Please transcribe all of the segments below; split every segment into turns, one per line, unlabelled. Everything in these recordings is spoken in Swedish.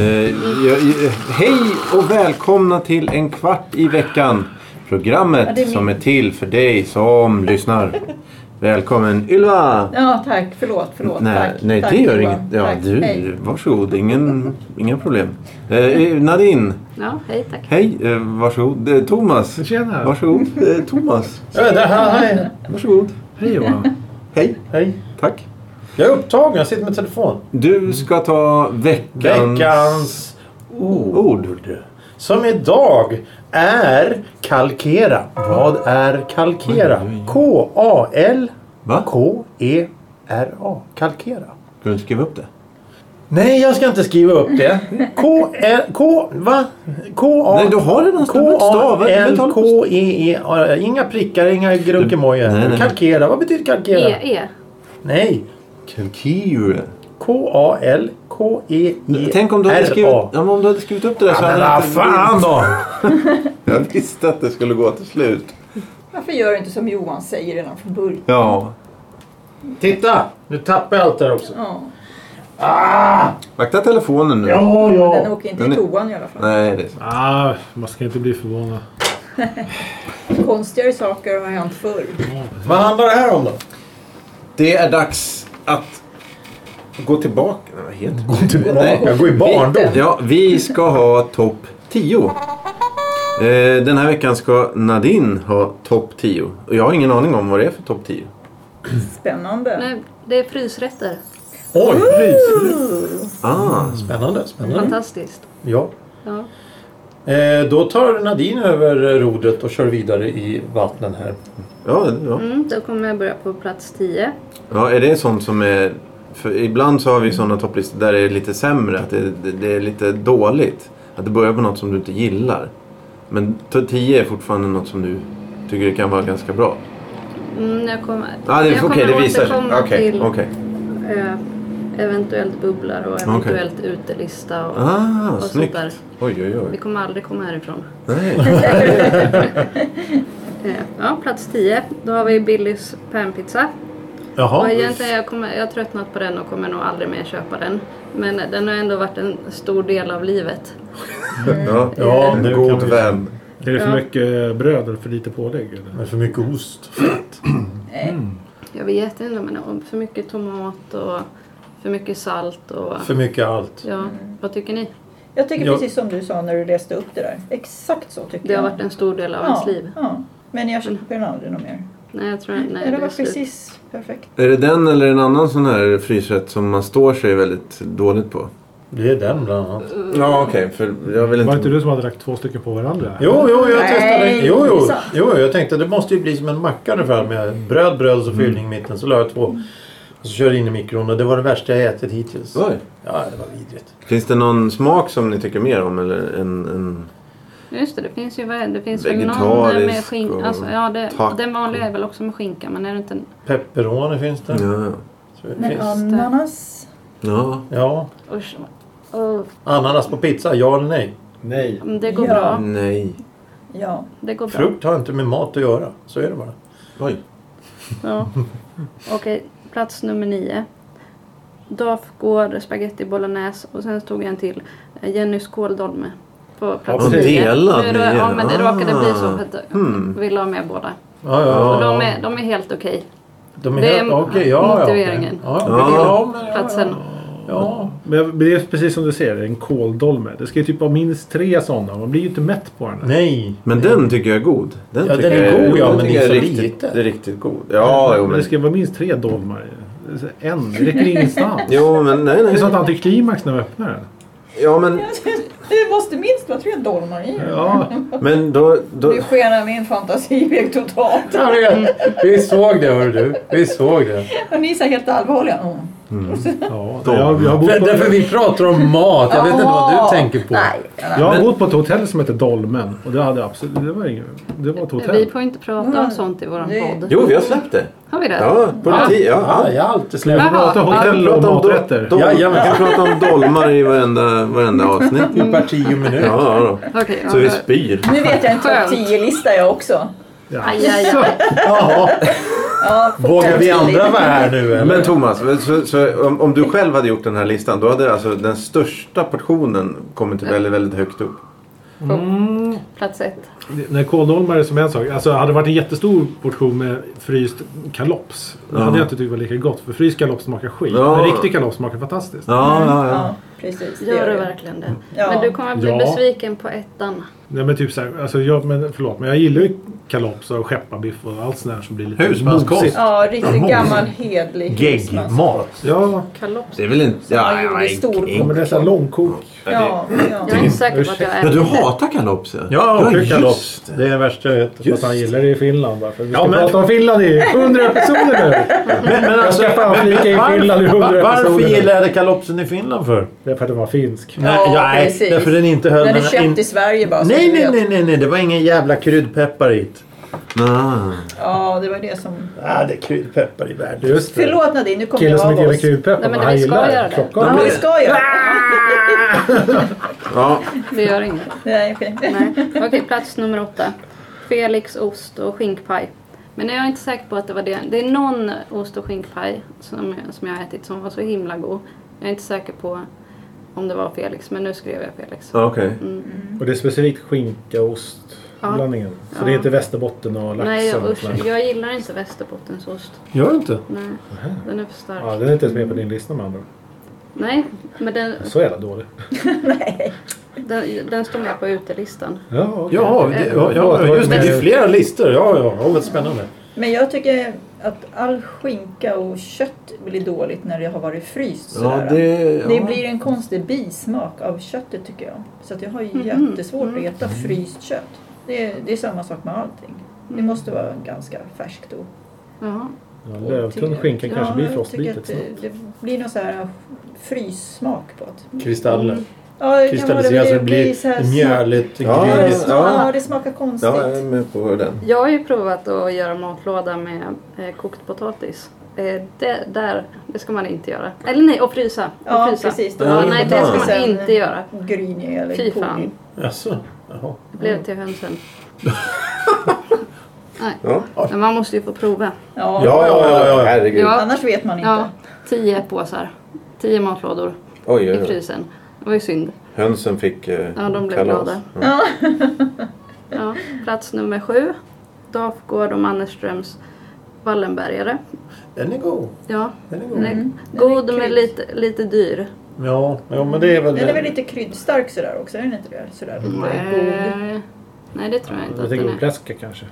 Eh, jag- jag- hej och välkomna till en kvart i veckan. Programmet
Ja, det är min.
som är till för dig som lyssnar. Välkommen Ylva!
Ja, tack. Förlåt, förlåt.
nej,
tack,
nej
tack,
det gör inget.
Johan.
Ja,
Tack,
du,
hej.
varsågod, ingen, inga problem. Eh, Nadine,
Ja, hej tack.
hej, eh, varsågod. Eh, Thomas,
Tjena!
varsågod. Eh, Thomas,
Ja, det här, hej.
varsågod.
Hej Johan!
Hej,
Hej!
tack.
Jag är upptagen, jag sitter med telefon.
Du ska ta veckans...
Veckans ord.
Ord.
Som idag är kalkera. Vad är kalkera?
Va?
K-A-L-K-E-R-A. E Kalkera.
Ska du skriva upp det?
Nej, jag ska inte skriva upp det. K... L, K... Va? K-A...
Nej, du har redan stavat. Stava.
K-A-L-K-E-E-R. E Inga prickar, inga
Nej, nej.
grunkemojor. Kalkera, vad betyder kalkera?
E-E.
Nej.
Kalkyl.
K-A-L-K-E-E-R-A.
Tänk om du, hade skrivit, ja, men om du hade skrivit upp det där så
Ja, men
hade
vad
jag inte-
fan då!
Jag visste att det skulle gå till slut.
Varför gör du inte som Johan säger redan från början?
Ja.
Titta! Nu tappar jag allt där också.
Ja,
Ah!
Vakta telefonen nu.
Ja,
den
ja.
åker inte
Den
i
är-
toan i alla fall.
Nej, det är sant.
Ah, man ska inte bli förvånad.
Konstigare saker har hänt förr.
Vad handlar det här om då?
Det är dags att gå tillbaka. Nej, vad heter det? Gå
Nej, jag går i barndom.
Ja, vi ska ha topp 10. Eh, Den här veckan ska Nadine ha topp 10. Och jag har ingen aning om vad det är för topp 10.
Spännande.
Nej, det är frysrätter.
Oj, lys.
Ah,
Spännande, spännande.
Fantastiskt.
Ja.
Ja.
Eh, då tar Nadine över eh, rodret och kör vidare i vattnen här.
ja, ja.
Mm, då kommer jag börja på plats 10.
ja, är det sånt som är... För ibland så har vi sådana topplistor där det är lite sämre. Att det, det, det är lite dåligt. Att det börjar på något som du inte gillar. Men topp 10 är fortfarande något som du tycker kan vara ganska bra.
Mm, jag kommer,
Ah, det,
jag
Okej, det visar sig.
återkomma
Okej,
till
okej.
eh, eventuellt bubblar och eventuellt utelista och,
Ah,
och sånt
snyggt.
där.
Oj, oj, oj.
Vi kommer aldrig komma härifrån.
Nej.
Eh, ja, plats 10. Då har vi Billys panpizza. Och
Jaha.
egentligen jag, kommer, jag har tröttnat på den och kommer nog aldrig mer köpa den. Men den har ändå varit en stor del av livet.
Mm.
Ja.
Ja,
En
det
god
kan vi.
vän.
Är det för
Ja.
mycket bröd eller för lite pålägg? Eller?
Men för mycket ost.
Eh,
Mm. Jag vet inte, men om för mycket tomat och för mycket salt och...
För mycket allt.
Ja, vad tycker ni?
Jag tycker
Ja.
precis som du sa när du läste upp det där. Exakt så tycker
Det har
jag.
varit en stor del av
ja,
ens liv.
Ja. Men jag köper den aldrig något mer.
Nej, jag tror nej,
Nej, det
är
var
slut.
precis perfekt.
Är det den eller en annan sån här frysrätt som man står sig väldigt dåligt på?
Det är den bland annat.
Mm.
Ja, okej. för jag vill inte...
Var det inte du som hade lagt två stycken på varandra?
Jo, jo, jag
Nej,
testade. Jo,
det är
jo,
sant.
jo, jag tänkte det måste ju bli som en macka ungefär med bröd, bröd och så fyllning i mitten. Så la jag två. Och så körde jag in i mikron och det var det värsta jag ätit hittills.
Oj.
Ja, det var vidrigt.
Finns det någon smak som ni tycker mer om? Eller en, en...
Just det, det finns ju vad är det? det finns väl någon
Vegetarisk
med skinka.
och
Alltså, ja, det,
taco.
den vanliga är väl också med skinka, men är det inte... en-
Pepperoni finns det.
Ja, ja.
Så det
Men
Finns.
ananas.
ja.
Ja.
Usch. Åh,
Ananas på pizza, ja eller nej?
Nej.
det går
Ja.
bra.
Nej.
Ja.
Det går bra.
Frukt har inte med mat att göra. Så är det bara.
Oj.
Ja. Okej, plats nummer nio. Dafgård, spaghetti bolognese och sen stod jag en till. eh, Jennys kåldolme. På plats
Ja,
nio.
delad
Nu,
nio.
rå- ja, men det råkade bli så för att
Hmm.
jag ville ha med båda.
Ja, ja.
Och
ja.
de är, de är helt okej.
De är
det är
helt... Okej, ja, ja.
motiveringen.
Ja,
Ja.
ja. ja, men, ja,
Platsen.
ja.
Men det är precis som du säger, en kåldolme. Det ska ju typ vara minst tre sådana. Man blir ju inte mätt på den. där.
Nej.
Men den tycker jag är god. Den
Ja,
tycker
den är
jag
god, ja,
den
men
tycker
det är
jag
så
riktigt,
lite.
Det är riktigt god. Ja, jo,
men
men...
det ska vara minst tre dolmar. En. Det räcker ingenstans.
Jo, men nej,
Det är
nej.
sånt antiklimax när vi öppnar den.
Ja, men,
Det måste minst vara tre dolmar i.
Ja.
men då... då...
Nu skenar min fantasi iväg totalt.
Jag vet. Vi såg det, hör du. Vi såg det.
Och ni är så här helt allvarliga. Mm.
Mm.
Ja,
Dolme.
jag, jag, har bott
För,
på,
därför vi pratar om mat. Jag vet inte vad
Jaha.
du tänker på.
Nej.
jag har bott på ett hotell som hette Dolmen. Och det hade absolut... Det var, inget, det var ett
Vi
hotell.
får inte prata om
Mm.
sånt i våran
Det-
podd.
Jo, vi har släppt det.
Har vi det?
Ja, politi. Ja,
Ja, Ah, jag har alltid
Vi
släppt.
får
Jaha,
prata
ja.
hotell och
do-
maträtter.
dol-
Jajamän.
vi kan prata om dolmar i varenda, varenda avsnitt. Ja,
I parti och minut.
ja då.
Okej, ja,
Så vi
då-
spyr.
Nu vet jag en topp
Skönt.
10-lista jag också.
Ja.
Aj, aj, aj.
Jaha.
Ja,
Vågar vi andra vara här nu eller?
Men Thomas, så, så, om, om du själv hade gjort den här listan då hade alltså den största portionen kommit till väldigt, väldigt högt upp.
Mm.
Plats ett.
Det- Nej, kåldolmar är som en sak. Alltså, hade det varit en jättestor portion med fryst kalops. Det
Ja.
hade jag inte tyckt var lika gott. För fryst kalops smakar skit.
Ja.
Men riktig kalops smakar fantastiskt.
Ja, ja, ja.
Ja, precis. det
Gör du
jag.
verkligen det?
Ja.
Men du kommer att bli
Ja.
besviken på ettan.
Nej men typ såhär, alltså jag, men, förlåt men jag gillar ju kalops och skepparbiff och allt sånt där som blir lite
Husmanskost.
mosigt.
Ja, riktigt gammal hedlig husmans.
Geggmat.
Ja,
Kalops.
Det är väl inte...
man gjorde i stor-
ja, men det är såhär långkok.
Ja, ja.
Jag är inte säker på att jag
Ja,
är
du hatar kalops ja.
Ja, och
just
kalops.
det.
Det är det värsta jag vet.
Fast han gillar det i Finland bara. För vi ska
Ja, men-
prata om Finland i 100 episoder nu!
Men, men
Jag
alltså,
ska fan flika in Finland i 100
varför, varför
episoder.
gillade jag kalopsen i Finland för?
Det är för att den var finsk.
Ja,
nej, nej
precis.
därför den inte höll...
Den är
men in-
köpt i Sverige bara. så
nej,
du
nej,
vet.
nej, nej, nej, det var ingen jävla kryddpeppar hit.
Nej.
Ja, det var det som...
Ah, det är kryddpeppar i världen.
Just det.
Förlåt Nadine, nu kommer
Killen
jag
som inte
av
gillar
oss.
kryddpeppar
Nej, men
men
det
han
vi ska
gillar
göra
det.
det.
Klockan.
Ja, vi ska göra
Ah!
det.
Ja,
Det gör inget.
Nej, okej.
Nej. Okej, plats nummer åtta. Felix ost och skinkpaj. Men jag är inte säker på att det var det. Det är någon ost och skinkpaj som, som jag har ätit som var så himla god. Jag är inte säker på om det var Felix, men nu skrev jag Felix. Mm.
ja, okej.
Och det är specifikt skinka och ostblandningen. Så
Ja.
det är inte Västerbotten och lax
Nej,
och
jag,
något
usch,
sånt där.
jag gillar inte västerbottensost.
Gör du inte?
Nej, den är för stark.
Ja, den är inte ens med på din lista med andra ord.
Nej, men den,
Så jävla dålig.
den, den står med på utelistan.
Ja, okej.
Ja, det, ja, ja, just det. Det är flera listor. Ja, ja. ja vad spännande.
Men jag tycker att all skinka och kött blir dåligt när det har varit fryst
Ja,
sådär.
det...
Det
Ja.
blir en konstig bismak av köttet tycker jag. Så att jag har ju
Mhm.
jättesvårt
Mm.
att äta fryst kött. Det är, det är samma sak med allting. Det
Mm.
måste vara ganska färskt och...
Jaha.
Ja, Lövtunn skinka kanske blir
jag tycker
frostbitet
att det,
snabbt.
det blir någon så här uh, fryssmak på det.
Kristaller.
Ja, det kan vara
Kristalliserar så alltså, det
så här
blir mjöligt,
Ja, ja,
grynigt.
smak- Ja,
ja.
det smakar konstigt.
ja, jag är med på den.
Jag har ju provat att göra matlåda med eh, kokt potatis. Eh, det, där, det ska man inte göra. Eller nej, och frysa. Och
Ja,
frysa.
precis. Då
Ja,
Ja,
blir
nej,
det
det ska man
sen
inte göra.
Grynig eller
Fy
kogig.
fan.
Jaså? Jaha.
Det blev till hönsen. nej.
Ja.
Men man måste ju få prova.
Ja.
Ja, ja, ja, ja. herregud.
Ja.
annars vet man inte.
Ja, tio påsar. Tio matlådor
Oj,
i
oj, oj.
frysen. Det var ju synd.
Hönsen fick eh,
Ja, de blev
kalas.
glada.
Ja.
Ja, plats nummer sju. Dafgård och Mannerströms Wallenbergare.
Den är god.
Ja,
Den är god.
den är
Den
god
är
men
krydd.
lite, lite dyr.
Ja, ja, men det är väl...
Den är väl lite kryddstark sådär också, är den inte det? Sådär
Mm.
lite god.
Nej, Nej, det tror jag inte
Jag
att den
tänker på
är.
pläska kanske.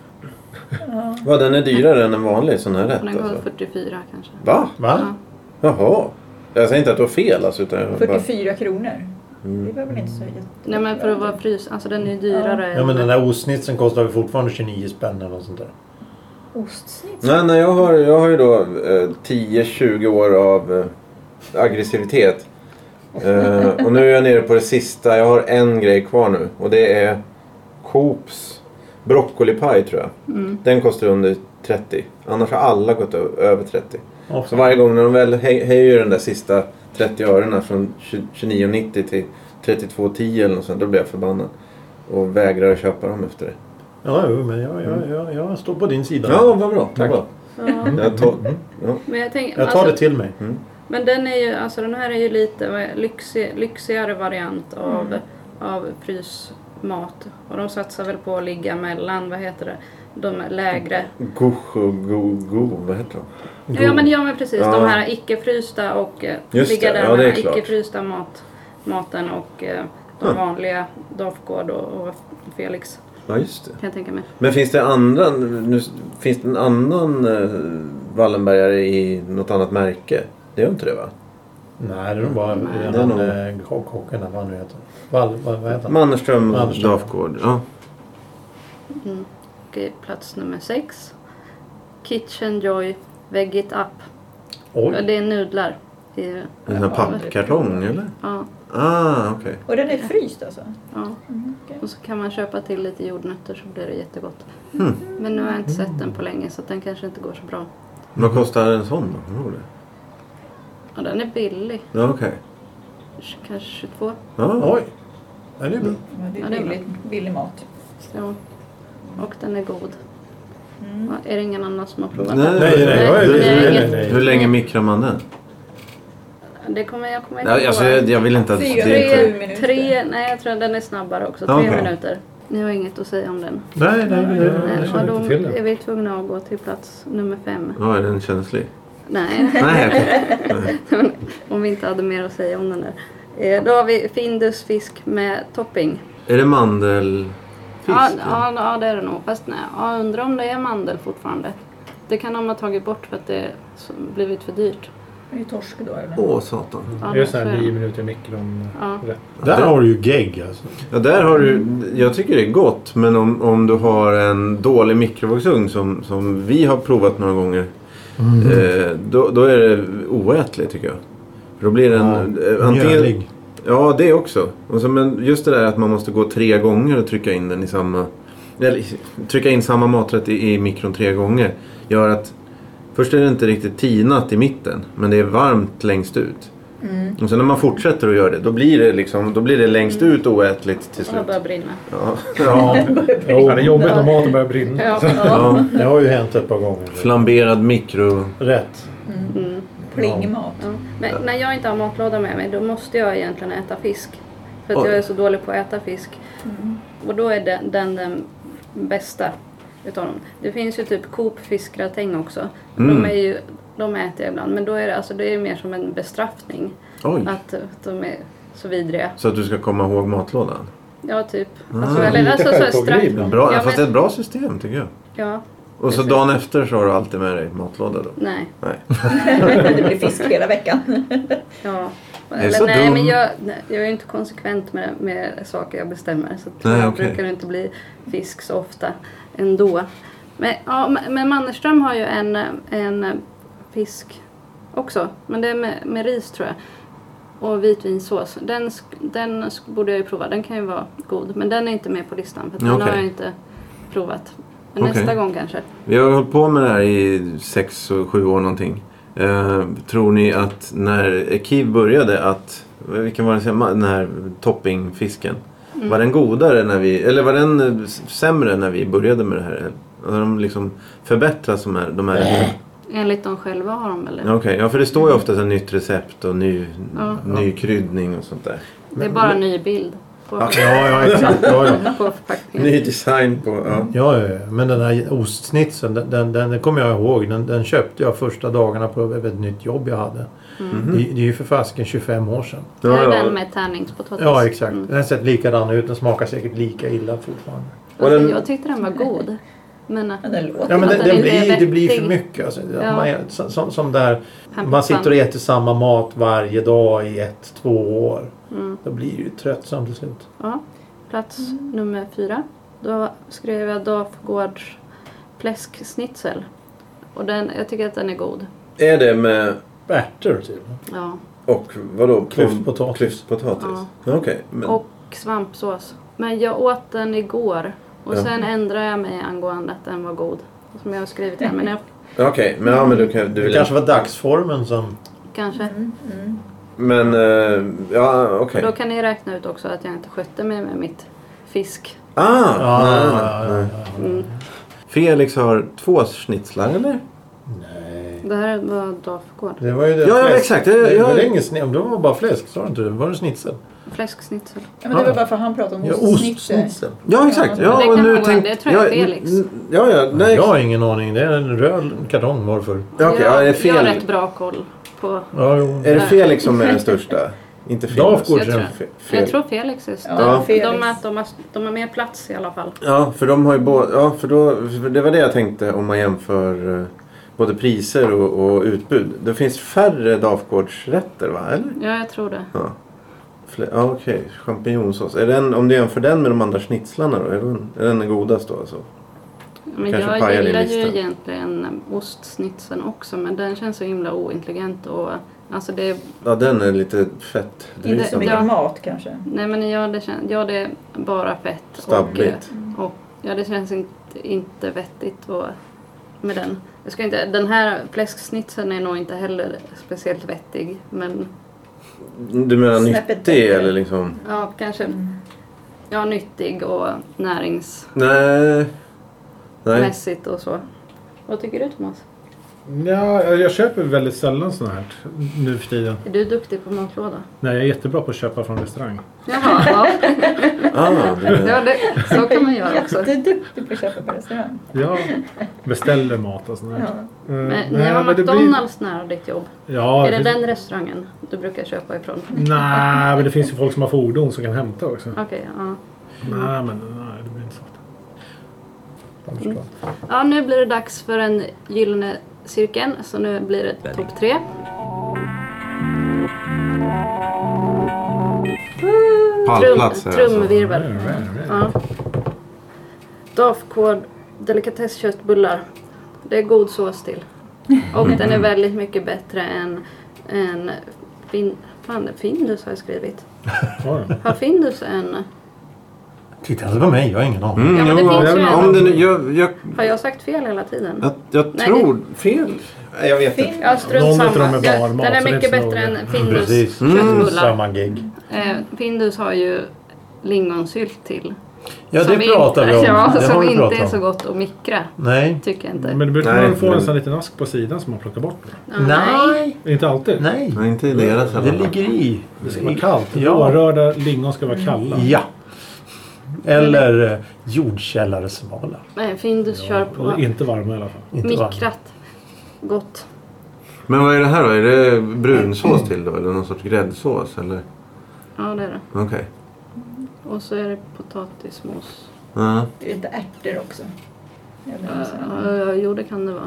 Vad, den är dyrare än en vanlig sån här
Den
rätt
går
alltså?
44 kanske.
Va?
Va?
Jaha. Jag säger inte att du har fel alltså. Utan jag bara...
44 kronor. Det var väl inte så jätte...
Nej men för att vara frys, alltså den är ju dyrare.
Ja, men den där ostsnitsen kostar väl fortfarande 29 spänn eller något sånt där.
Ostsnitt?
Nej, nej, jag har, jag har ju då eh, 10-20 år av eh, aggressivitet. Eh, och nu är jag nere på det sista. Jag har en grej kvar nu. Och det är Coops broccolipaj tror jag.
Mm.
Den kostar under 30. Annars har alla gått ö- över 30.
Ja.
Så varje gång när de väl hö- höjer den där sista 30 örena från 20- 29,90 till 32,10 eller något sånt. Då blir jag förbannad. Och vägrar att köpa dem efter det.
Ja, jo, men jag, jag, jag, jag står på din sida.
Mm. Ja, vad bra. Mm. Tack.
Ja.
Jag tog... ja.
Men jag tänker,
Jag tar det
alltså,
till mig.
men den är ju, alltså den här är ju lite vad är- lyxig, lyxigare variant av, av frysmat. Och de satsar väl på att ligga mellan, vad heter det, de lägre.
Gush och go, go, vad heter de?
Ja men, ja men precis,
Ja.
de här icke-frysta och eh,
Just
ligga
det,
där
ja,
med
det är
den här
klart.
icke-frysta mat, maten och eh, de
Ja.
vanliga Dafgård och, och Felix
Ja, just det.
kan jag tänka mig.
Men finns det andra, nu, finns det en annan eh, Wallenbergare i något annat märke? Det gör inte det va?
Nej, det är nog bara
det är
han,
nog-
eh, kock- kocken eller vad han nu heter. Val, vad, vad heter han?
Mannerström,
Mannerström.
Dafgård. Ja.
Okej, plats nummer sex. Kitchen Joy Vegget Up.
Oj,
Det är nudlar. I,
En sån här pappkartong eller?
ja,
Ah, okej.
Och den är fryst alltså?
ja.
Mm, okej.
Och så kan man köpa till lite jordnötter så blir det jättegott.
Hmm.
Men nu har jag inte sett den på länge så den kanske inte går så bra.
Vad kostar en sån då? Kommer du ihåg det?
Och den är billig.
Ja, okej.
Kanske 22.
Ja.
Oj! Ja, det är bra.
Ja, det
Ja,
är
det är
billig, billig mat.
Ja. Och den är god.
Mm.
Ja, är det ingen annan som har provat
Nej,
den?
Nej, nej,
Nej,
nej,
det är
nej,
inget.
nej,
Hur
nej.
länge mikrar man den?
Det kommer jag kommer inte
Nej, alltså, jag, jag vill inte att
Fyra.
det är...
sju
tre,
minuter.
tre, nej jag tror den är snabbare också. Tre
Okej.
minuter. Ni har inget att säga om den.
Nej, nej, nej.
Ja,
Jag känner
då
inte till
är
den.
vi tvungna att gå till plats nummer fem.
Ja, är den känslig?
Nej,
Nej, okej.
om vi inte hade mer att säga om den där. Eh, Då har vi Findus fisk med topping.
Är det mandelfisk?
Ja, ja, ja, det är det nog. Fast nej, jag undrar om det är mandel fortfarande. Det kan de ha tagit bort för att det s- blivit för dyrt.
Det är ju torsk då eller?
Åh, satan.
Ja,
Det är
det
sån
tror
här
jag.
9 minuter i mikron.
Ja.
rätt.
Där har du ju gegg alltså.
Ja, där har du... Jag tycker det är gott, men om, om du har en dålig mikrovågsugn som, som vi har provat några gånger, eh, då, då är det oätligt tycker jag. För då blir den... eh, antingen,
Mjölig.
Ja, det också. Och så, men just det där att man måste gå tre gånger och trycka in den i samma... Eller, trycka in samma maträtt i, i mikron tre gånger. Gör att... Först är det inte riktigt tinat i mitten, men det är varmt längst ut.
Mm.
Och sen när man fortsätter att göra det, då blir det, liksom, då blir det längst ut oätligt till
Mm.
slut.
Ja, Det börjar brinna.
Ja.
Ja. Jo, det är jobbigt när maten börjar brinna.
Ja,
Ja.
Det har ju hänt ett par gånger.
Flamberad mikro...
Rätt.
Mm.
Plingmat.
Ja. Men när jag inte har matlåda med mig då måste jag egentligen äta fisk. För att
Oj.
jag är så dålig på att äta fisk. Och då är den den, den bästa utav dem. Det finns ju typ Coop fiskgratäng också.
Mm.
De, är ju, de äter jag ibland. Men då är det, alltså, det är mer som en bestraffning.
Oj!
Att att de är så vidriga.
Så att du ska komma ihåg matlådan.
Ja, typ.
Ah.
Alltså, eller,
Lite
alltså, så här
självplågeri
straff.
ibland.
Bra,
Ja,
Fast det
men-
är ett bra system tycker jag.
Ja,
Och så
Precis.
dagen efter så har du alltid med dig matlåda då.
nej.
Nej.
det blir fisk hela veckan.
Ja.
är så
nej,
dum.
men jag, nej, jag är ju inte konsekvent med, med saker jag bestämmer. Så att
Nej,
jag
okej.
brukar det inte bli fisk så ofta ändå. Men, ja, men- men Mannerström har ju en, en fisk också. Men det är med, med ris tror jag. Och vitvinsås. Den, sk- den sk- borde jag ju prova. Den kan ju vara god. Men den är inte med på listan. För att
Ja,
den
okej.
har jag inte provat. Men
Okej.
nästa gång kanske.
Vi har hållit på med det här i sex och sju år någonting. Eh, tror ni att när Kiv började att, vilken var den, sen- den här toppingfisken?
Mm.
Var den godare när vi, eller var den eh, s- sämre när vi började med det här? Har de liksom förbättrats de här? De här
Enligt dem själva har de väl det.
ja, okej. ja, för det står ju ofta så här nytt recept och ny,
Ja.
ny kryddning och sånt där.
Det är bara en ny bild. På,
Ja, ja, exakt. Ja, ja.
på förpackningen.
Ny design på, ja.
Ja, ja, ja. men den här ostsnitsen, den, den, den, den kommer jag ihåg. Den, den köpte jag första dagarna på ett ett nytt jobb jag hade.
Mm.
Det, det är ju för fasken 25 år sedan.
Det är
Ja, ja.
den med tärningspotatis.
Ja, exakt.
Mm.
Den har sett likadan ut. Den smakar säkert lika illa fortfarande.
Och den-
Jag tyckte den var god. Men äh,
Men den låter
Ja, men
Att
det,
den
det,
inte är
blir, det blir för
vettig.
mycket. Alltså,
Ja.
man, är- som- som, som där,
Pam,
man sitter
pam.
och äter samma mat varje dag i ett, två år. Då blir det ju tröttsamt till slut.
ja, Mm. plats nummer fyra. Då skrev jag Dafgårds fläsksnitzel. Och den, jag tycker att den är god.
Är det med
Ärtor typ.
Ja.
och vadå?
Klyftpotatis.
Klyftpotatis. Okej. men-
Och svampsås. Men jag åt den igår. Och
Ja.
sen ändrade jag mig angående att den var god. Som jag har skrivit här. Men jag
Okej, men, ja, men du, kan, du
Det
vill
kanske var dagsformen som...
kanske.
Mm,
Men, eh, ja okej.
Och då kan ni räkna ut också att jag inte skötte mig med mitt fisk.
Ah,
Ja,
nej,
ja, ja,
nej.
ja.
Mm.
Felix har två schnitzlar eller?
Nej.
Det här var Dafgård.
Det var ju det
Ja, ja,
fläsk-
exakt.
Det,
Jag-
det
jag-
var ingen sne- det var bara fläsk, sa du inte det? Var det schnitzel?
Fläsksnitzel.
Ja, men det var bara för att han pratade om
Ja,
ostsnitzel.
ostschnitzel.
Ja exakt.
Ja,
Ja,
det
och
kan
nu
man vara.
tänk-
Det tror jag är
ja,
Felix.
n- Ja, ja, nej.
Jag har ingen aning. Det är en röd kartong varför.
Ja, okej, ja, är det
jag, jag har
fel?
rätt bra koll på
Ja, jo.
Är det Felix som är den största? Inte Felix.
Dafgård.
Jag tror,
Fe- fel.
jag tror Felix är större.
Ja, Felix.
De, har, de, har, de har mer plats i alla fall.
Ja, för de har ju både... Ja, för då... För det var det jag tänkte om man jämför eh, både priser och, och utbud. Det finns färre Dafgårdsrätter va? Eller?
Ja, jag tror det.
Ja. Fle- Ja, okej. Champinjonsås. Är den, om du jämför den med de andra schnitzlarna då? Är den, är den godast då alltså?
Men
Kanske pajar
jag
din
gillar ju
lista.
egentligen ostsnitsen också men den känns så himla ointelligent och Alltså det,
Ja, den är lite fett.
Inte-
Drysande.
ja.
Dramat kanske.
nej men ja, det känns, ja det är bara fett.
Stabbigt.
Och, och, ja det känns inte, inte vettigt och, med den. Jag ska inte, den här fläsksnitsen är nog inte heller speciellt vettig. Men
Du menar
Snäppet
nyttig
bättre.
eller liksom?
ja, kanske ja, nyttig och näringsmässigt
Nej. Nej.
och så. Vad tycker du Thomas?
Ja, jag jag köper väldigt sällan sånt här nu för tiden.
Är du duktig på matlåda?
Nej, jag är jättebra på att köpa från restaurang.
Jaha, ja.
Ah, det
ja det, så kan man göra också.
Jätteduktig på att köpa på restaurang.
Jag beställer mat och sånt här.
Ja.
Mm,
Men ni
nej,
har
men det blir-
McDonalds nära ditt jobb.
Ja,
är det, den restaurangen du brukar köpa ifrån?
Nej, men det finns ju folk som har fordon som kan hämta också.
Okej, ja.
Nej, men nej, det blir inte så ofta.
Jag förstår.
Ja, nu blir det dags för en gyllene cirkeln. Så nu blir det topp tre.
Pallplats här alltså.
trumvirvel. Ja. Dafkål, delikatessköttbullar. Det är god sås till. Och den
Mm.
är väldigt mycket bättre än, än fin, fan, Findus har jag skrivit.
Ja, då.
Har Findus en...
Titta inte på mig, jag har ingen aning.
Mm,
Ja, men det
jo,
finns
jag-
ju en-
om det nu, jag, jag,
Har jag sagt fel hela tiden?
jag, jag
Nej,
tror... Fel? Nej, Jag vet inte.
Fin-
Ja, strunt
Någon
samma.
utav dem är
Ja,
barnmat, så
Den
det är
är mycket
inte så
bättre
noga.
än Findus
Precis.
Mm.
Mm.
köttbullar.
Samma gig.
Eh, Findus har ju lingonsylt till.
Ja, det
som
pratar
inte,
vi om.
Ja,
det har
som
vi
inte
pratat
är så
om.
gott att mikra.
Nej.
Tycker jag inte.
Men det brukar
Nej,
man få
men-
en sån liten ask på sidan som man plockar bort.
Ja,
Nej.
Inte alltid.
Nej.
Nej, inte i deras
Det
heller.
ligger i.
Det ska vara kallt.
Ja.
Rårörda lingon ska
Mm.
vara kalla.
Ja. Eller eh, jordkällaresmala.
Nej, Findus kör på
Och inte varma i alla fall.
Inte varm.
mikrat. Gott.
Men vad är det här då? Är det brunsås till då? Eller någon sorts gräddsås? Eller?
Ja, det är det.
Okej.
Och så är det potatismos.
Ja.
Det är lite ärtor också. Eller något sånt.
Uh, uh, jo, det kan det vara.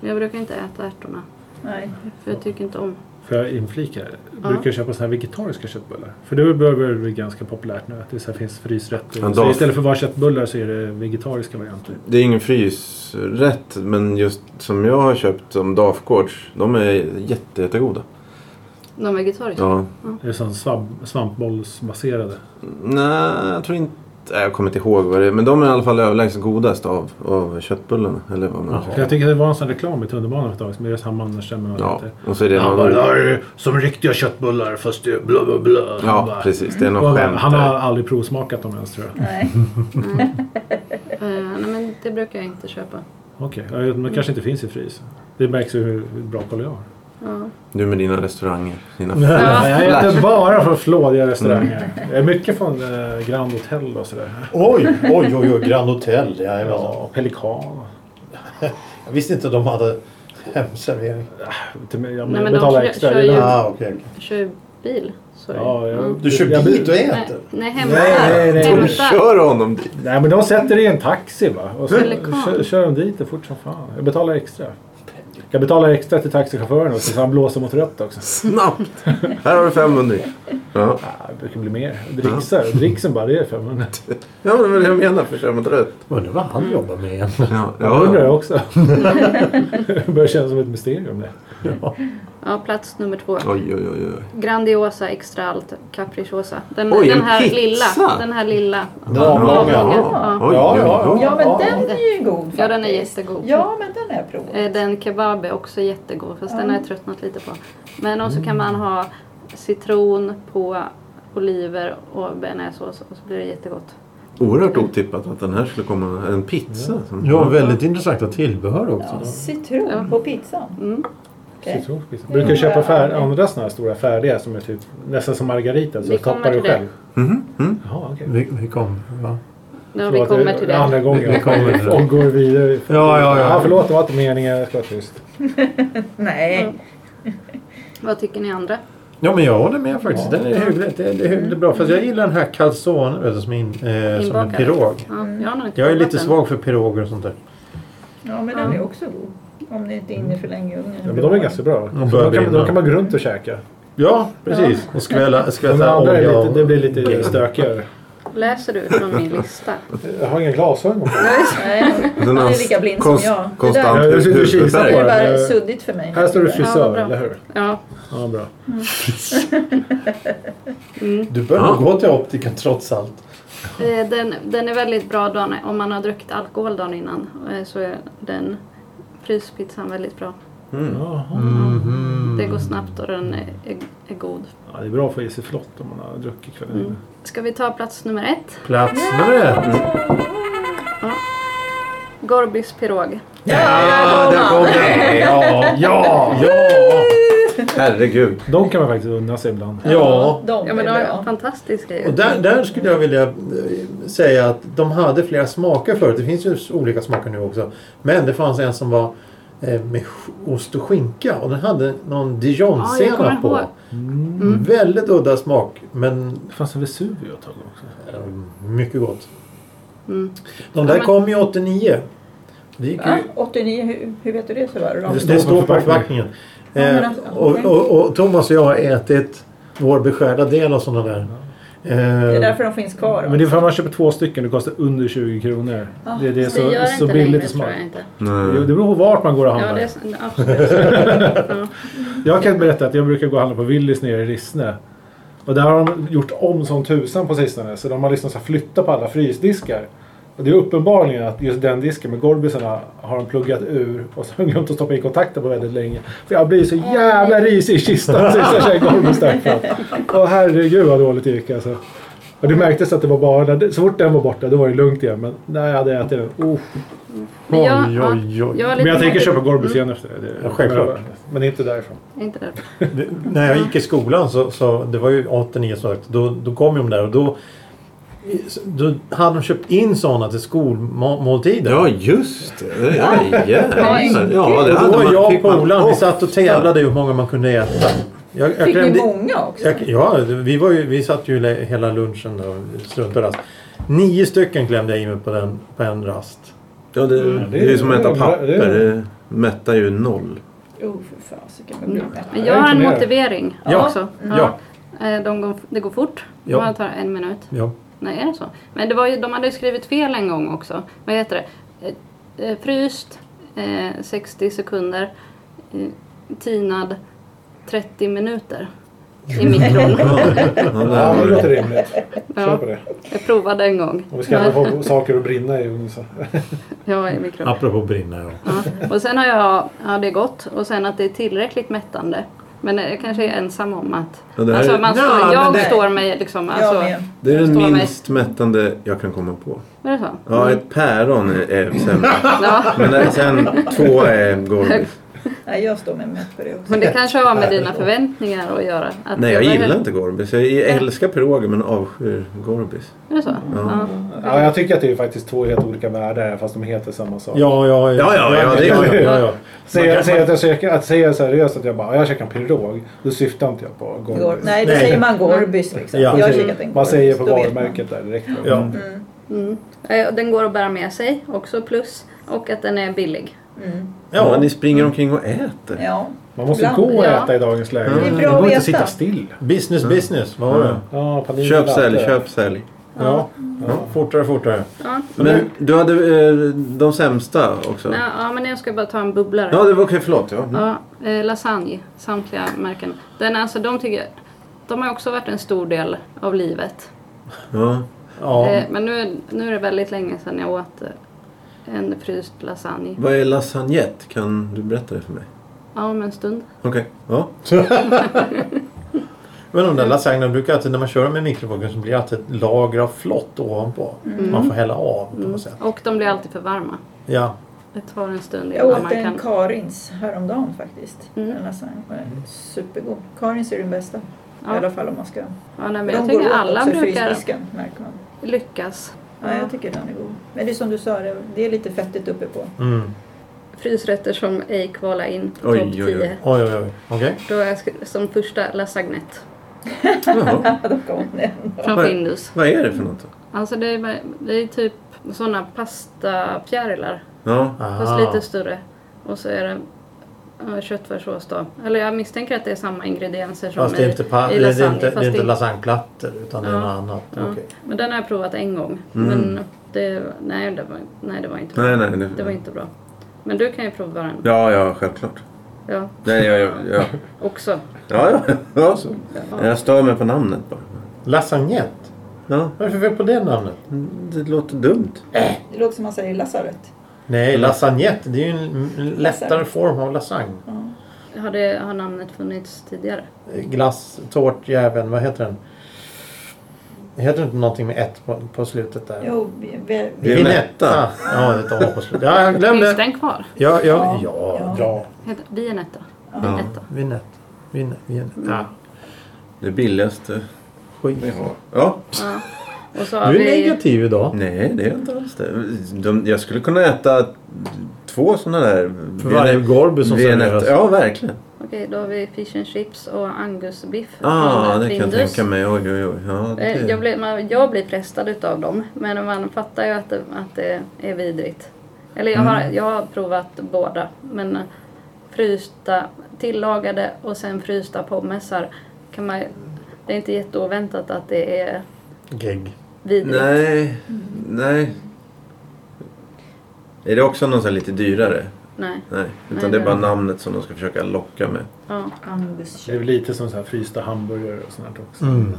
Men jag brukar inte äta ärtorna.
Nej.
För jag tycker inte om.
Får jag inflika? Brukar du köpa såna här vegetariska köttbullar? För det börjar bli ganska populärt nu att det så här finns frysrätter.
Ja, då-
Så istället för bara köttbullar så är det vegetariska varianter.
Det är ingen frysrätt, men just som jag har köpt som Dafgårds, de är jätte, jättegoda.
De vegetariska.
Ja.
Det är sån svamp, svampbollsbaserade.
Nej, jag tror inte... Nej, jag kommer inte ihåg vad det är. Men de är i alla fall överlägset godast av, av köttbullarna. Eller vad man
För jag tycker det var en sån reklam i tunnelbanan för ett tag sedan med deras Hammar Andersen med
Ja,
vad det
och så är det
Han
någon...
bara, det här är som riktiga köttbullar fast det är bla bla bla. Han
Ja,
bara-
precis. Det är något
Och
skämt
Han har
där.
aldrig provsmakat dem ens tror jag.
Nej.
Eh, nej, men det brukar jag inte köpa.
Okej, ja, men det kanske inte finns i frys. Det märks ju hur hur bra koll jag har.
Ja.
Du med dina restauranger. Dina...
Nej, jag äter bara från flådiga restauranger.
Mm.
Jag är mycket från eh, Grand Hotel och sådär.
Oj, oj, oj, oj. Grand Hotel. Ja, ja.
Ja, Pelikan.
Jag visste inte de hade hemservering.
Inte mer, Jag
Nej, men de
betalar
kö-
extra.
kör
Det är-
ju-
Ah, okay, okay.
Kör ju bil. Sorry.
Ja, jag-
Du kör
jag-
bil och
Mm. Nej,
äter?
nej, hemma.
Nej, nej, nej.
Du
Hämta.
kör honom dit!
Nej, men de sätter dig i en taxi va? Och så
Pelikan.
kör, kör de dit det fort som fan. Jag betalar extra. Jag betalar extra till taxichauffören också så han blåser mot rött också.
Snabbt! Här har du 500. Ja,
Ja, det brukar bli mer. Dricksar. Dricksen bara, det är 500.
ja men det var det jag menar. För kör man trött.
Undrar vad han jobbar med igen.
Ja,
Jag undrar jag
ja.
också. det börjar kännas som ett mysterium det.
Ja, plats nummer två.
Oj, oj, oj. oj.
Grandiosa, extra allt, capricciosa. Den,
Oj,
den
en
här
pizza!
lilla. Den här lilla.
Avlånga.
Ja.
Oj,
Ja,
oj,
ja,
oj.
Ja men den är ju god
ja, den är
faktiskt.
jättegod.
Ja men den har jag provat.
Eh, Den kebab är också jättegod, fast den har jag tröttnat lite på. Men
Mm.
också kan man ha citron på oliver och bearnaisesås och så blir det jättegott.
Oerhört otippat att den här skulle komma. En pizza. Som...
Ja, väldigt intressanta tillbehör också.
Ja, citron på pizzan.
Mm.
Okej.
Citronspizza. Brukar du köpa fär- andra sådana här stora färdiga som är typ nästan som margarita så
Vi
toppar
kommer
du
till det.
själv?
Mhm, mm.
Jaha, okej.
Vi, vi kom, va?
Nu har vi kommer till
Andra
det.
gången.
Vi kommer till det.
Och går vidare.
Ja, ja, ja.
förlåt, det var inte meningen. Jag ska vara tyst.
Nej.
Mm. Vad tycker ni andra?
Ja, men jag håller med faktiskt. Den är hyggligt, det, det är hyggligt bra. Fast jag gillar den här calzone vet du, som, in, eh, som en
Inbakad.
pirog.
Ja, jag, har nog inte
Mm. Jag är
provat
lite
den.
svag för piroger och sånt där.
Ja men den är också god. Om ni inte är inne för länge i ugnen.
Ja, men de är ganska bra. De
börjar
kan,
brinna.
de kan man gå runt och käka.
Ja, precis. Och skvälla,
De
skvätta
andra är
olja
lite,
och...
det blir lite stökigare.
Läser du från min lista?
Jag har inga glasögon på mig.
Nej,
Den
han
har
är lika blind
konst-
som jag. Det
Konstant
där
Jag sitter och kisar
det
huvudvärk.
är bara
Eh,
suddigt för mig.
Här står det
Ja,
frisör,
vad bra.
eller hur?
Ja.
Ja, bra.
Du bör
Ja.
gå till optiken trots allt.
Eh, Den, den är väldigt bra dagen, om man har druckit alkohol dagen innan eh, så är den fryspizzan väldigt bra.
Mm.
Jaha.
Mhm. Mm.
Det går snabbt och den är, är, är god.
Ja, det är bra att få i sig flott om man har druckit kvällen
Mm.
innan.
Ska vi ta plats nummer ett?
Plats nummer
eh,
ett.
mm.
Gorbys pirog.
Ja, där kom
den! Ja,
Ja!
ja,
Herregud.
De kan man faktiskt unna sig ibland.
ja.
De
Ja
är
men det är en
bra.
fantastisk grej.
Och där, där skulle jag vilja eh, säga att de hade flera smaker förut. Det finns ju olika smaker nu också. Men det fanns en som var eh, med sk- ost och skinka och den hade
Ja,
någon
jag kommer
dijonsenap på.
ihåg. Mm.
Väldigt udda smak men
Det fanns Mm. en Vesuvio ett tag också.
eh, mycket gott.
Mm.
De där
Ja, men-
kom ju 89. Det gick ju
Va? 89, Ah, hur, hur vet du det sådär?
Det
Det,
står på
står på
förpackningen.
förpackningen.
Ja, men
Eh,
alltså,
och,
okej.
och, och Thomas och jag har ätit vår beskärda del av sådana där.
Det är
Eh,
därför de finns kvar.
Men det är för att man köper två stycken. Det kostar under 20 kronor.
Ah,
Det, det är
det gör
så, så
inte
billigt
längre
i
tror
smak.
jag inte.
Jo,
Nej.
det beror på vart man går och
Ja,
handlar.
det är, s- absolut.
Jag kan berätta att jag brukar gå och handla på Willys nere i Rissne. Och där har de gjort om som tusan på sistone. Så de har liksom så här flyttat på alla frysdiskar. Och det är uppenbarligen att just den disken med gorbisarna har de pluggat ur och så har de glömt att stoppa in kontakter på väldigt länge. För jag blir så jävla risig i kistan sist jag käkade gorbis därifrån. Åh herregud vad dåligt det gick alltså. Och det märktes att det var bara där. Så fort den var borta då var det lugnt igen. Men när jag hade ätit den. Oh.
Men jag,
Oj,
ja,
oj, oj.
jag är lite
Men jag tänker
mer-
köpa gorbis igen efter det. det.
Ja, självklart.
Men inte därifrån.
Inte det.
det, när jag gick i skolan så, så det var ju 89 som sagt. Då, då kom ju de där och då, då hade de köpt in sådana till skolmåltiden.
Ja, just det. det. Ja, jävlar. Ja, det
och då
hade
var
man.
jag
fick
och
man
polaren, vi
ofta.
satt och tävlade i hur många man kunde äta. Jag,
Fick
jag
ni
klämde-
många också?
Jag, ja, vi, var ju, vi satt ju le- hela lunchen där och struntade rast. Nio stycken klämde jag i mig på, den, på en rast.
Ja, det, det är ju som att äta papper.
Det är-
Det mättar ju noll.
Oh, för fasiken vad blir det?
Men
Jag
jag
är
har en
imponerad.
motivering
Ja.
också.
Ja.
Eh, De går, det går fort.
Ja.
Man tar en minut.
Ja.
Nej, är det så? Men det var ju, de hade ju skrivit fel en gång också. Vad heter det? Eh, eh, Fryst, eh, 60 sekunder, eh, tinad, 30 minuter i mikron.
Ja, det
Ja,
var
men det
det.
låter rimligt. Kör
Ja.
på det.
Jag provade en gång.
Om vi ska ändå få saker att brinna i ugnen så.
Ja, i mikron.
Apropå brinna ja.
Ja. Och sen har jag, ja det är gott, och sen att det är tillräckligt mättande. Men jag kanske är ensam om att...
Ja, det här
alltså,
är-
man
Ja,
står,
men
jag
det-
står mig liksom... Alltså,
Jag med.
Det är den
Står mig-
minst mättande jag kan komma på.
Är det så?
Mm.
Ja, ett päron är, är sämre.
Ja.
Men där- sen två är Gorbis.
Nej, jag står med mätt på det också.
Men det kanske har med dina förväntningar att göra. Att
Nej,
det
jag
var-
gillar inte Gorbis. Jag älskar piroger men avskyr Gorbis.
Är det så? Ja.
Ja, jag tycker att det är faktiskt två helt olika världar fast de heter samma sak.
Ja,
Ja,
ja,
ja, ja, det
ja,
kan
ja,
jag.
ja.
Säga, säga att, jag käkar, att säga seriöst att jag bara, "Ja, jag käkar en pirog. Då syftar inte jag på
Gor-
Gorbis.
Nej, då
Nej.
säger man Gorbis liksom.
Ja.
Jag har kikat en
Man säger på
Gorbis, då vet man.
varumärket där direkt.
Ja.
Mm. Eh, och Den går att bära med sig, också plus. Och att den är billig.
Mm.
Ja,
ja.
ni springer omkring och äter.
Ja.
Man måste
Ibland,
gå och
ja.
äta i dagens läge.
Det är
Det
bra
går
att
inte
veta.
att sitta still.
Business, business. Vad var det?
Ja, panini
Köp,
latte.
sälj, köp, sälj.
Ja. ja. Fortare, fortare.
Ja.
Men du hade eh, de sämsta också.
Ja, ja, men jag ska bara ta en bubblare.
Ja, det var okej. Förlåt. Ja.
Ja, eh, lasagne, samtliga märken. Den, är alltså, de, tycker, de har också varit en stor del av livet.
Ja.
Ja.
Eh, men nu, nu är det väldigt länge sedan jag åt eh, en fryst lasagne.
Vad är lasagnette? Kan du berätta det för mig?
Ja, om en stund.
Okej. Ja.
Men de där lasagnen brukar alltid, när man kör dem i mikrovågen så blir det alltid ett lager av flott ovanpå.
mm.
Man
Mm.
får hälla av på något sätt.
Och de blir alltid för varma.
Ja.
Det tar en stund
Jag
innan man
åt
kan...
en Karins häromdagen faktiskt.
Mm.
En lasagne. Den är Supergod. Karins är den bästa.
Ja.
I alla fall om man ska.
Ja, nej, men
De
jag
går
tycker
åt
alla
också i
brukar
frysdisken, märker man.
lyckas.
Ja, jag tycker den är god. Men det är som du sa, det- det är lite fettigt uppe på.
Mm.
Frysrätter som ej kvala in på
Oj,
topp
oj, oj.
10.
Oj, oj, oj. Okej.
Då är jag sk- som första lasagnet
Jaha.
De kom den.
från
Oj.
Findus.
Vad är det för något? då?
Alltså det är, bara- det är typ sådana pastafjärilar
Ja.
fast
Ah.
lite större. Och så är det eh, köttfärssås då. Eller jag misstänker att det är samma ingredienser som
Fast det är inte, pa-
i
det är
lasagne,
inte, det
fast
är inte
det-
lasagneplattor utan det är
Ja.
något annat.
Ja.
Okej.
Men den har jag provat en gång.
Mm.
Men det, nej, det var, nej, det var inte bra.
Nej, nej. Det,
Det var inte bra. Men du kan ju prova den.
Ja, ja, självklart.
Ja,
Nej, ja, ja, ja.
också.
Ja, ja, ja så.
Ja.
Jag stör mig på namnet bara.
Lasagnett?
Ja,
Vad är det för fel på det namnet?
det låter dumt.
Det låter som man säger lasarett.
Nej,
Mm.
lasagnett det är ju en m- lättare
Lasagne.
form av lasagne.
Har, det, har namnet funnits tidigare?
Glass, tårtjäveln, vad heter den? Det heter inte någonting med ett på, på slutet där? Ah,
Jo, vi, vi,
Violetta.
Ja, det är ett A på slutet. Ja, jag
Finns
glömde.
den kvar?
Ja, ja,
Ja.
ja.
Ja.
ja.
Heter Bienetta?
Ja,
Bienetta.
Vinett. Vinett. Vinett. Ja.
det billigaste
Skit.
vi har. Ja.
Ja. Och så har
Du är
vi...
negativ idag.
Nej, det är inte alls det. De, jag skulle kunna äta två sådana där.
För varje Gorby som serveras.
serveras. Ja, verkligen.
Okej, då har vi fish and chips och angusbiff.
Ah,
från
det kan jag
Findus.
tänka mig. Oj, oj, oj. Ja, det...
Eh, Jag blir, man, jag blir frestad utav dem, men man fattar ju att det, att det är vidrigt. Eller jag har,
Mm.
jag har provat båda, men frysta, tillagade och sen frysta pommesar. Kan man, det är inte jätteoväntat att det är
Gegg.
vidrigt.
Nej, nej. Är det också någon sån här lite dyrare?
Nej.
Nej, utan
Nej,
det
det
är bara
är det.
namnet som de ska försöka locka med.
Ja,
Det är väl lite som så här frysta hamburgare och sånt också.
Mm.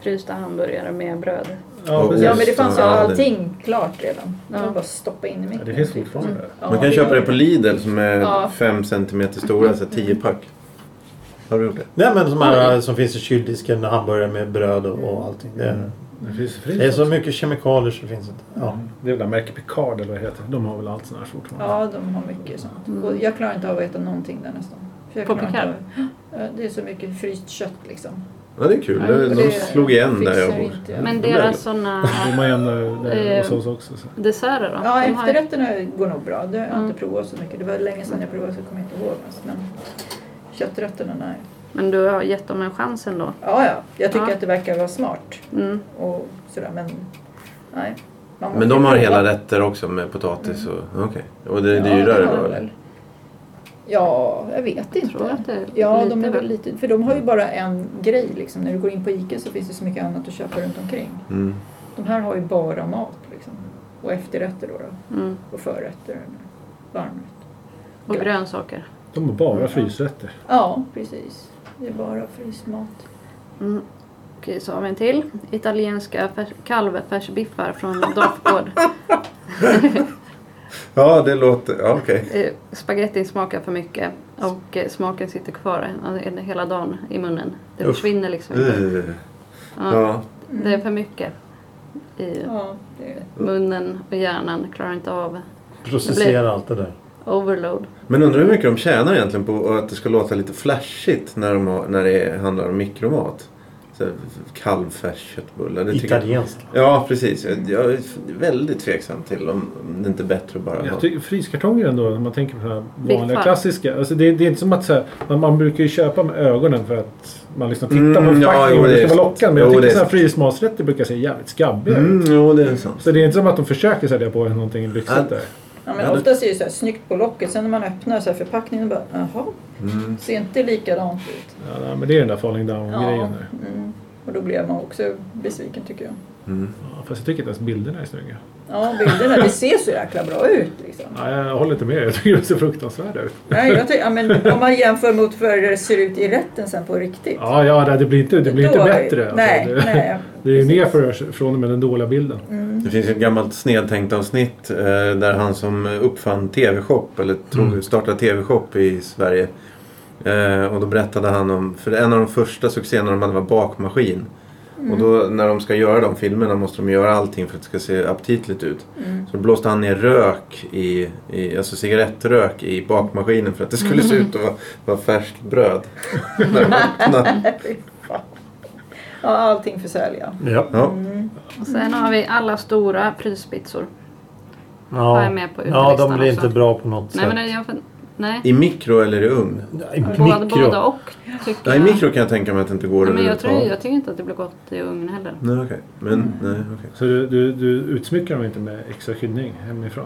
frysta hamburgare med bröd.
Ja,
Och
precis.
Ja, men det fanns ju
Ja, det-
allting klart redan. Det
Ja.
var bara att stoppa in i
Ja,
mitten.
det finns fortfarande.
Ja,
Man kan
det Mm.
köpa
gör
det på Lidl som är
Ja.
5 cm stora, så 10 pack. Har du gjort det?
Nej men de här som finns i kyldisken, hamburgare med bröd och, och allting. Det,
Mm.
Det finns ju fryst
det är så
också.
mycket kemikalier så det finns inte. Ja.
Mm. Det är väl det där märket Picard eller vad det heter. De har väl allt sånt här fortfarande.
Ja, de har mycket sånt.
Mm.
Och jag klarar inte av att äta någonting där nästan. För jag
På
klarar inte
Picard?
av- Ja, Det är så mycket fryst kött liksom.
Ja, det är kul.
Ja,
Det-
och
De
det
slog igen där jag
fixar
bor.
inte jag.
Men
det är
deras
gott.
sådana
De har en eh, där
Eh,
hos oss också. Så.
desserter då?
Ja,
De har ju-
efterrätterna går nog bra. Det har jag
Mm.
inte provat så mycket. Det var länge sedan jag provade så jag kommer inte ihåg. Alltså. Men kötträtterna, nej.
Men du har gett dem en chans ändå.
Ja, ja. Jag tycker
Ja.
att det verkar vara smart.
Mm.
Och sådär, men nej. Man måste
Men de har
prova.
hela rätter också med potatis och... Okej. Och det är
Mm. Ja,
dyrare
det har
då
de
eller?
väl. Ja, jag vet inte.
Jag tror att det är
Ja,
lite
de är väl
väl.
lite, för de har ju bara en grej liksom. När du går in på ICA så finns det så mycket annat att köpa runt omkring.
Mm.
De här har ju bara mat liksom. Och efterrätter då, då
Mm.
och förrätter. eller Varmrätt.
Och
Ja.
grönsaker.
De har bara
Mm.
frysrätter.
Ja, precis. Det är bara frysmat.
Mm. Okej, så har vi en till. Italienska färs- kalvfärsbiffar från Doffgård.
Ja, det låter... Ja, okej.
Eh, Spagettin smakar för mycket och eh, smaken sitter kvar en- en- hela dagen i munnen. Det
Usch.
försvinner liksom inte.
Eh,
Ja,
Ja.
det är för mycket i
Mm. Ja, det,
munnen och hjärnan klarar inte av Det
Processera allt det där.
overload.
Men undrar hur mycket de tjänar egentligen på att det ska låta lite flashigt när, de har, när det handlar om mikromat. Så här, Kalvfärsköttbullar. det tycker jag-
Italienskt.
Ja, precis. Jag jag är väldigt tveksam till om om det inte är bättre att bara ha.
Jag tycker fryskartonger ändå, om man tänker på de här vanliga
Big Fun.
klassiska. Alltså det, det är inte som att så här, man, man brukar ju köpa med ögonen för att man liksom tittar på
Mm,
förpackningen
ja, jo,
och
det
det
är
ska vara
sant.
lockande. Men
Jo,
jag
det är
tycker sådana
sant.
här frysmatsrätter brukar se jävligt skabbiga ut.
Mm, jo, det är sant.
Så det är inte som att de försöker sälja på en någonting
Äh.
lyxigt där.
ja,
Ja,
men
det-
oftast är det så här snyggt på locket. Sen när man öppnar så här förpackningen och bara, jaha,
Mm.
ser inte likadant ut.
Ja, nej, men det är den där falling down-grejen där.
mm. Och då blev man också besviken tycker jag.
Mm.
Ja, fast jag tycker inte ens bilderna är snygga.
Ja, bilderna, det ser så jäkla bra ut liksom.
Ja, jag håller inte med. Jag tycker de ser fruktansvärda ut.
Nej, jag tycker, ja, men om man jämför mot hur det ser ut i rätten sen på riktigt.
Ja, ja nej, det blir inte, det blir inte
Då-
bättre. Alltså,
nej,
det,
nej. Mm,
det är ju ner för, från och med den dåliga bilden.
Det finns ett gammalt snedtänkt avsnitt eh, där han som uppfann TV-shop eller tog,
Mm.
startade TV-shop i Sverige. Eh, och då berättade han om, för en av de första succéerna de hade var bakmaskin. Och då
Mm.
när de ska göra de filmerna måste de göra allting för att det ska se aptitligt ut.
mm.
Så då blåste han ner rök i, i alltså cigarettrök i bakmaskinen för att det skulle se ut att vara, vara färskt bröd. när de öppnade.
Ja, allting försälja.
Ja.
ja.
Och sen har vi alla stora prispizzor. Har
Ja.
jag med på
ja, de
utelistan
blir
också.
inte bra på något
Nej,
sätt.
men det- jag, nej.
I mikro eller i ugn?
I
Både,
mikro.
både och tycker
Ja, I mikro kan jag tänka mig att det inte går
Ja, men jag, tror,
överhuvudtaget.
jag tycker inte att det blir gott i ugn heller.
Mm.
Nej, okej. Men, nej, okej.
Så du, du, du utsmyckar dem inte med extra kryddning hemifrån?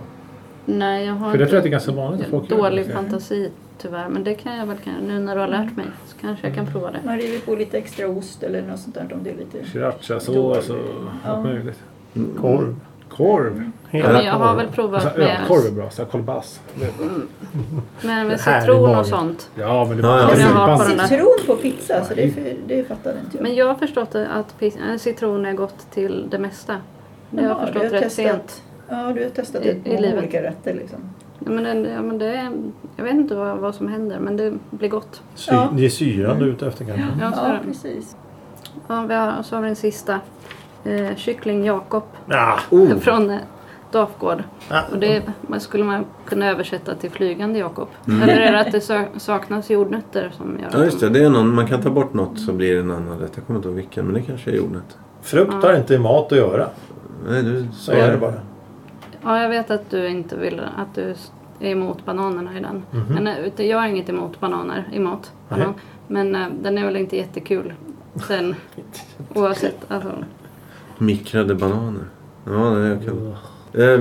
Nej, jag har
För det tror jag
inte
är ganska vanligt att folk gör.
dålig fantasi tyvärr. Men det kan jag väl kanske, nu när du har lärt mig så kanske jag kan
Mm.
prova det.
Man river på lite extra ost eller något sånt där om det är lite...
Srirachasås och allt möjligt.
Korv.
Korv.
Hela
Men jag har
korv.
väl
Alltså,
provat med,
ölkorv är bra. Så här, kolbass.
med, med
Härlig
citron
mat.
och sånt.
Ja, men det
Ja, ja.
bara
Jag
har
limpan.
på den där.
Alltså, Citron på pizza, så det, för, det fattade inte jag.
Men jag har förstått att pi- äh, citron är gott till det mesta. Det har jag
Jaha,
förstått
du har
rätt
testat.
sent.
Ja, du har testat
I-
ut
i
många
livet.
olika rätter liksom.
Ja, men det, ja, men det, är- jag vet inte vad, vad som händer men det blir gott.
Sy-
Ja.
Det är syran du är ute efter kanske?
Ja, så,
Ja,
är det.
precis.
ja, vi har, och så har vi den sista. Eh, kyckling Jakob
Ah,
Mm.
från eh, Dafgård.
Ah.
Och det man skulle man kunna översätta till flygande Jakob. Eller är det att det sö- saknas jordnötter som gör att
Mm. Ja, just
de-
det. det är någon, man kan ta bort något så blir det en annan rätt. Jag kommer inte ihåg vilken, men det kanske är jordnöt.
Frukt har inte i mat att göra.
Nej, du
Så
sa
är det
det.
bara.
Ja, jag vet att du inte vill att du är emot bananerna i den.
Mhm.
Men eh, ute- jag har inget emot bananer i mat.
Nej.
Banan. Men eh, den är väl inte jättekul sen. Oavsett. Alltså,
Mikrade bananer. Ja, det är kul.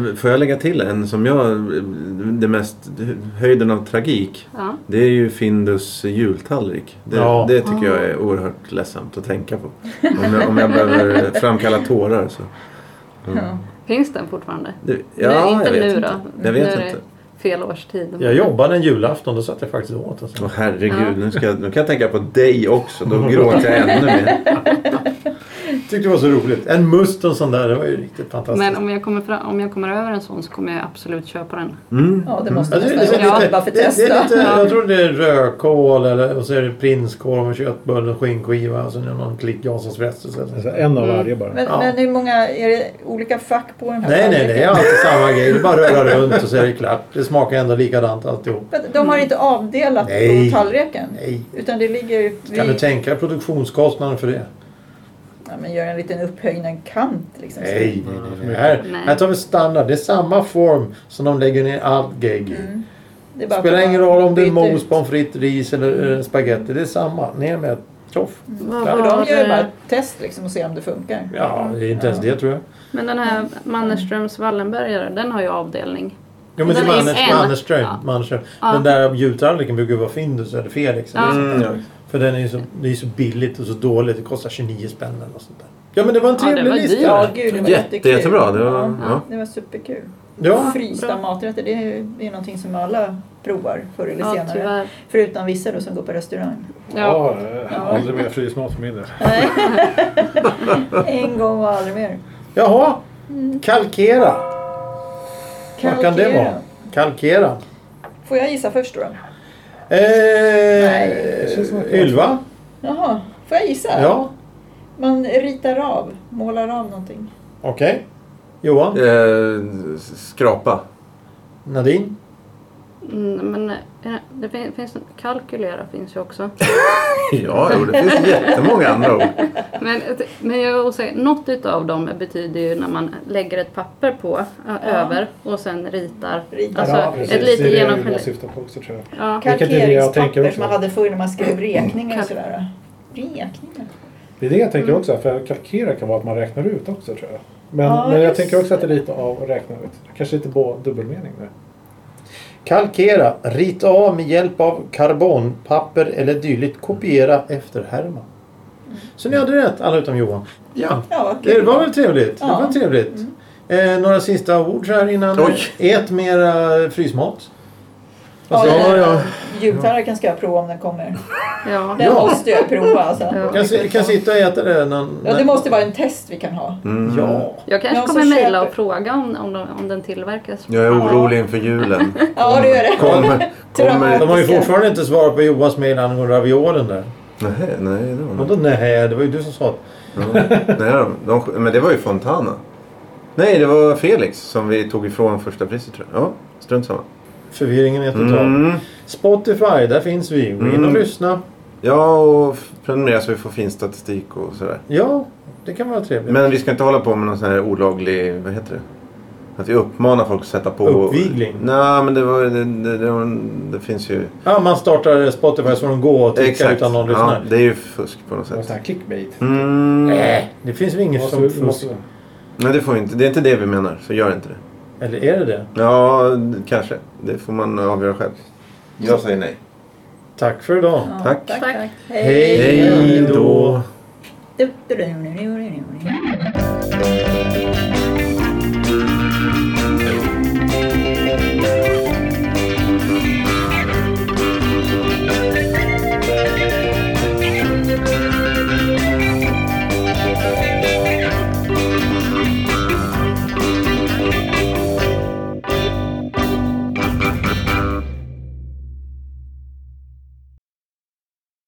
Eh, Får jag lägga till en som jag... eh, Det mest... Höjden av tragik.
ja.
Det är ju Findus jultallrik. Det,
Ja.
det tycker jag
Ah.
är oerhört ledsamt att tänka på. Om jag, om jag behöver framkalla tårar så.
Mm.
Ja.
Finns den fortfarande?
Det,
nu,
ja,
inte
jag vet
nu
inte.
då.
Jag vet
nu är
inte.
det fel årstid.
Jag jobbade en julafton, då satt jag faktiskt åt. Alltså.
Åh herregud, nu, ska, jag- nu kan jag tänka på dig också. Då gråter jag ännu mer.
tyckte det var så roligt. En must och en sån där, det var ju riktigt fantastiskt.
Men om jag, kommer fram, om jag kommer över en sån så kommer jag absolut köpa den.
Mm.
ja, det måste
Ja, det, det,
man
det,
nästan göra bara
Ja,
det,
för att
det, det är
testa.
lite, jag tror det är rödkål eller, och så är det prinskorv med köttbullar och skinnskiva och sen är det någon klick Janssons frestelse. eller
Alltså,
så.
en av varje bara.
Men,
Ja.
men hur många, är det olika fack på den här
Nej, nej,
tallriken?
det är alltid samma grej. Det är bara att röra runt och så är det klart. Det smakar ändå likadant alltihop.
Men De har inte avdelat
Nej.
på tallriken?
Nej.
Utan det ligger vid...
Kan du tänka dig produktionskostnaden för det?
ja, men gör en liten upphöjden kant liksom.
Nej, nej, nej. nej. Här,
Nej.
här tar vi standard. Det är samma form som de lägger ner allt gegg i.
Det är
Det
bara
spelar
att
ingen roll om det är
byta
mos,
ut.
pommes frites, ris eller eh, spaghetti. Det är samma. Ner med ett tjoff.
Vad
För
var-
de gör ju bara ett test liksom och ser om det funkar.
Ja, det är inte ens det tror jag.
Men den här Mannerströms Wallenbergare, den har ju avdelning.
Jo men det är
Den är
Manners,
en.
Mannerström.
Ja.
Mannerström.
Ja.
Den där jultallriken brukar ju vara Findus eller Felix. Eller
Ja.
sånt där.
Mm,
liksom. För den är ju så, det är ju så billigt och så dåligt. Det kostar 29 spänn eller något sånt där. Ja men det var en
Ja, det
trevlig
var
lista.
dyrt.
Ja, gud, det var
Jätte-
jättekul.
jättebra, det var- ja.
det var superkul.
Ja.
Frysta
Bra.
maträtter, det är ju det är någonting som alla provar förr eller
Ja,
senare.
tyvärr.
Förutom vissa då som går på restaurang.
Ja.
Ja, eh, aldrig mer frysmat för min del.
en gång och aldrig mer.
Jaha. Kalkera. Vad kan det
Kalkera.
vara? Kalkera.
Får jag gissa först då?
Det känns som att-
Eh, Ylva?
Jaha, får jag gissa?
Ja.
Man ritar av, målar av någonting.
Okej. Johan?
Eh, skrapa.
Nadine?
Mm, men eh, det fin- finns, kalkylera finns ju också.
Ja, jo, det finns jättemånga andra ord.
Men, eh, men jag vill säga, något utav dem betyder ju när man lägger ett papper på, ö- över och sen ritar.
Ritar
Alltså,
av.
Ja, precis.
ett lite
det är det jag
genomskinligt-
syftar på också tror jag.
Ja.
Vilket är det jag tänker
Kalkeringspapper
också.
som man hade förr när man skrev räkningar och
Kalk-
sådär. Räkningar?
Det är det jag
Mm.
tänker också. För kalkera kan vara att man räknar ut också tror jag. Men,
Ja,
men jag
just
tänker också att det är lite av att räkna ut. Kanske lite på dubbelmening där.
Kalkera. Rita av med hjälp av karbonpapper eller dylikt. Kopiera efter Herman.
Mm.
Så ni hade rätt alla utom Johan. Ja,
Ja, vad
det
kul.
var väl trevligt.
Ja. Mm.
Det var trevligt. Eh, några sista ord så här innan.
Oj.
Ät mera frysmat.
Ja,
Alltså,
den
ja,
där
ja.
Jultallriken ska jag prova om den kommer.
Ja.
Den måste jag prova alltså.
Ja.
Kan, si- kan sitta och äta det. Någon,
Ja, det måste vara en test vi kan ha.
Mm.
Ja.
Jag kanske
Jag som
kommer mejla
köper-
och fråga om, om, de, om den tillverkas.
Jag är orolig inför julen.
Ja, det gör det.
Kommer...
De
kommer...
har ju
Ska-
fortfarande inte svarat på Johans mejl angående raviolen där.
Nej, nej, det var något.
Vadå nej? Det var ju du som sa det.
Nej, de, de, men det var ju Fontana. Nej, det var Felix som vi tog ifrån första priset tror jag. Ja, strunt samma.
Förvirringen är total.
Mm.
Spotify, där finns vi. Gå in och
Mm.
lyssna.
Ja, och f- prenumerera så vi får fin statistik och sådär.
Ja, det kan vara trevligt.
Men vi ska inte hålla på med någon sån här olaglig, vad heter det? Att vi uppmanar folk att sätta på...
Uppvigling?
Nej, men det, var, det, det, det, var- det finns ju...
Ja, man startar Spotify så de går och klickar utan någon
ja,
lyssnar.
det är ju fusk på något
Någon
sätt.
sån här clickbait.
Mm.
Eh. Äh.
Nej, det finns väl inget
Måste-
sånt fusk.
måste-
Nej, det får vi inte. Det är inte det vi menar, så gör inte det.
Eller är det det?
Ja, kanske. Det får man avgöra själv. Jag säger nej.
Tack för idag.
Ja,
Tack.
tack,
Tack.
tack.
Hej
Hej då.
då.
Du- du- du- du- du-